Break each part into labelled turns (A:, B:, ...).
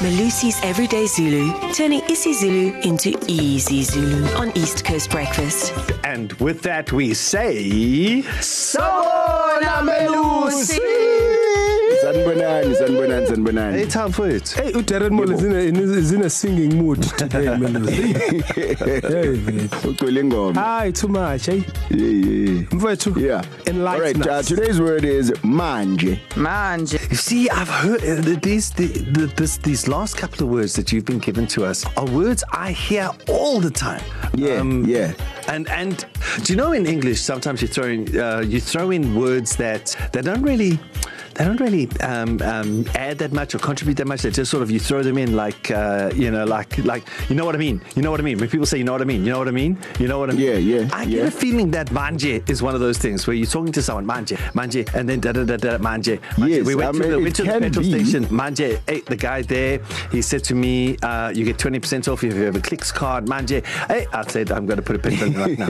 A: Malusi's Everyday Zulu, turning isiZulu into easy Zulu on East Coast Breakfast.
B: And with that, we say.
C: Sawubona Melusi.
D: Sanibonani, sanibonani, sanibonani.
B: Ethaphuthi.
C: Hey uDarren Mole is in a, in a, is in a singing mood today Melusi. hey man.
D: Ugcwele ingoma.
C: Hi too much eh? hey.
D: Yeah, yeah.
C: Mfethu.
D: Yeah. All right,
C: Enlighten
D: uh,
C: us.
D: today's word is manje.
E: Manje.
B: You see, I've heard uh, th- these the, the, this, these last couple of words that you've been given to us are words I hear all the time. Um,
D: Yeah, yeah.
B: And and do you know in English sometimes you throw in uh, you throw in words that they don't really they don't really um, um, add that much or contribute that much. They just sort of you throw them in like uh, you know like like you know what I mean. You know what I mean. When people say you know what I mean, you know what I mean. You know what I mean.
D: Yeah, yeah,
B: I
D: yeah.
B: get a feeling that manje is one of those things where you're talking to someone manje manje and then da da da da manje. manje.
D: Yes,
B: we went
D: I
B: to
D: mean,
B: the,
D: it
B: went to the
D: can
B: petrol
D: be.
B: station. Manje, hey, the guy there, he said to me, uh, you get 20% off if you have a Clicks card. Manje, hey, I said, I'm going to put a pin in right now.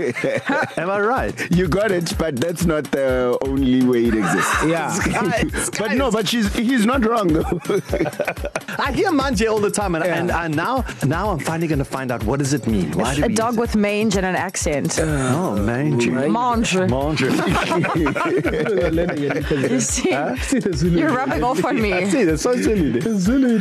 B: Am I right?
D: You got it, but that's not the only way it exists.
C: Yeah.
D: but no, but she's he's not wrong though.
B: I hear manje all the time, and, yeah.
C: Yeah.
B: and, and now now I'm finally going to find out what does it mean. Why do
E: A
B: we
E: dog
B: use
E: with mange and an accent.
B: it?
D: Uh,
B: oh manje
E: Mange.
B: manje.
E: You see, you're rubbing off on me.
D: See, that's so silly.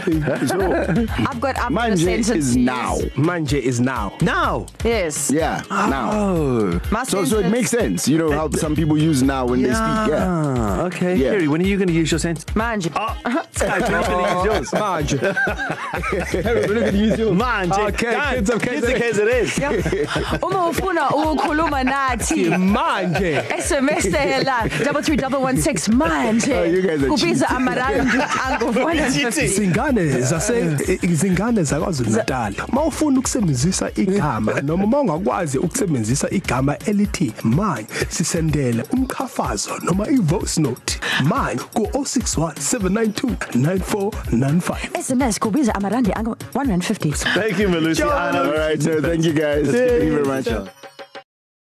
D: So,
E: I've got up in a
D: manje
E: sentence.
D: is now.
C: Manje is now.
B: Now,
E: Yes.
D: Yeah, now.
B: oh
E: My
D: So so it
E: sentence-
D: makes sense. You know how some people use now when
B: yeah,
D: they speak. Yeah.
B: yeah. Ah, okay. Yeah.
D: Yeah.
B: Harry, when are you going to use your sentence?
E: Manje.
D: Ah.
E: Oh.
B: I'm going to use yours.
C: Manje. Harry, we're not going to use you.
B: Manje.
C: Okay,
B: Done.
C: kids of
B: Kids of KZN.
E: Uma ufuna ukukhuluma nathi.
C: Manje.
E: SMS hela 33116 manje.
D: Oh, you guys are
E: Kubiza amarandi angu450.
C: izingane zase izingane zakwaZulu Natal mawufuna ukusebenzisa igama noma mawungakwazi ukusebenzisa igama elithi mine sisendele umkhafazo noma ivoice note mine ku 0617929495
E: SMS kubiza amarandi angu150.
B: Thank you, Malusi. I know
D: All right, so thank you guys. Thank you very much.